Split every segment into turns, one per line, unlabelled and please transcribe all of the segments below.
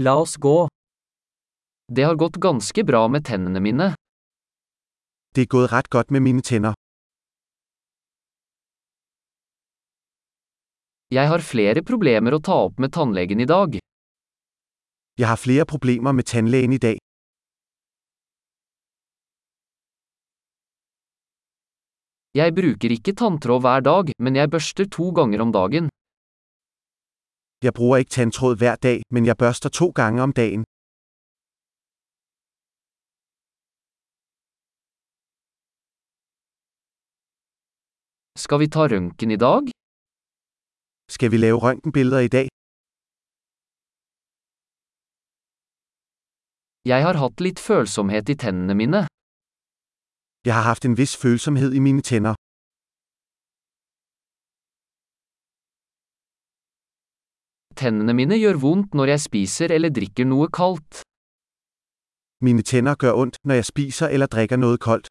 La oss gå.
Det har gått ganske bra med tennene mine.
Det er gået ret godt med mine tænder.
Jeg har flere problemer å ta opp med tannlegen i dag.
Jeg har flere problemer med tandlægen i dag.
Jeg bruker ikke tanntråd hver dag, men jeg børster to ganger om dagen.
Jeg bruger ikke tandtråd hver dag, men jeg børster to gange om dagen.
Skal vi ta røntgen i dag?
Skal vi lave røntgenbilleder i dag?
Jeg har hatt litt følsomhet i tennene mine.
Jeg har haft en vis følsomhed i mine tænder.
Tennene mine gjør vondt når jeg spiser eller drikker noe kaldt.
Mine tænder gør ondt, når jeg spiser eller drikker noget koldt.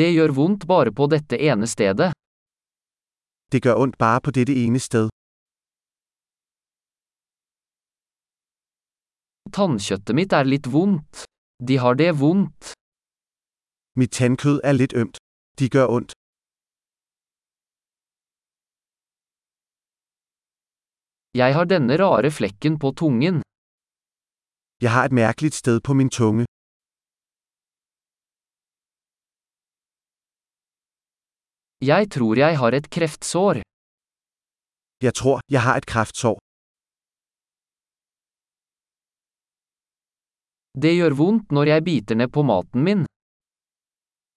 Det gjør vondt bare på dette ene stedet.
Det gør ondt bare på dette ene sted.
Tannkjøttet mitt er litt vondt. De har det vondt.
Mit tandkød er lidt ømt. De gør ondt.
Jeg har denne rare flekken på tungen.
Jeg har et mærkeligt sted på min tunge.
Jeg tror jeg har et kreftsår.
Jeg tror, jeg har et kræftsår.
Det gjør vondt når jeg biter ned på maten min.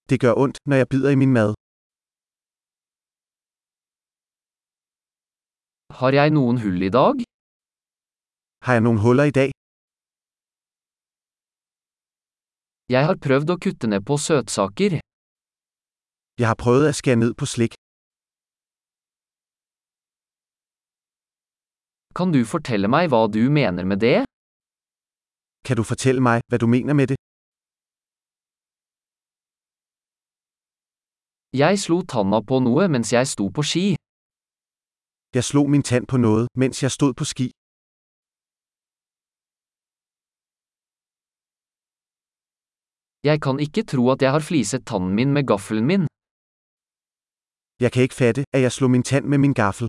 Det gør ondt, når jeg bider i min mad.
Har jeg noen hull i dag?
Har jeg nogle huller i dag?
Jeg har prøvd å kutte ned på søtsaker.
Jeg har prøvet at skære ned på slik.
Kan du fortelle meg hva du mener med det?
Kan du fortælle mig, hvad du mener med det?
Jeg slo tanna på noe mens jeg sto på ski.
Jeg slog min tand på noget, mens jeg stod på ski.
Jeg kan ikke tro at jeg har fliset tannen min med gaffelen min.
Jeg kan ikke fatte, at jeg slog min tand med min gaffel.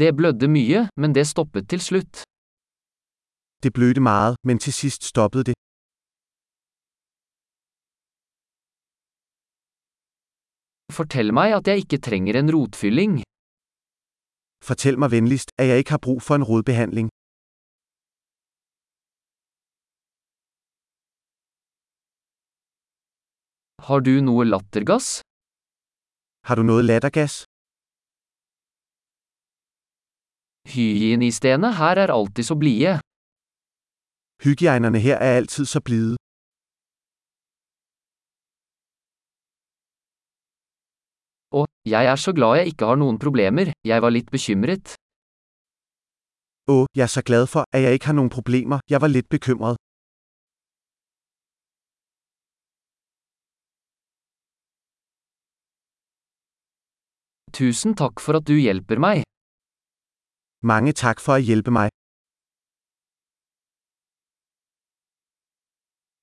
Det blødde mye, men det stoppet til slutt.
Det blødte meget, men til sidst stoppede det.
Fortell meg at jeg ikke trenger en rotfylling.
Fortæl mig venligst, at jeg ikke har brug for en rodbehandling.
Har du noe lattergass?
Har du noget lattergas?
Hygienistene her er alltid så blide.
Hygiejnerne her er altid så blide.
Og, jeg er så glad jeg ikke har noen problemer, jeg var litt bekymret.
Åh, jeg er så glad for, at jeg ikke har nogen problemer, jeg var lidt bekymret.
Tusen takk for at du hjelper meg.
Mange tak for at hjælpe mig.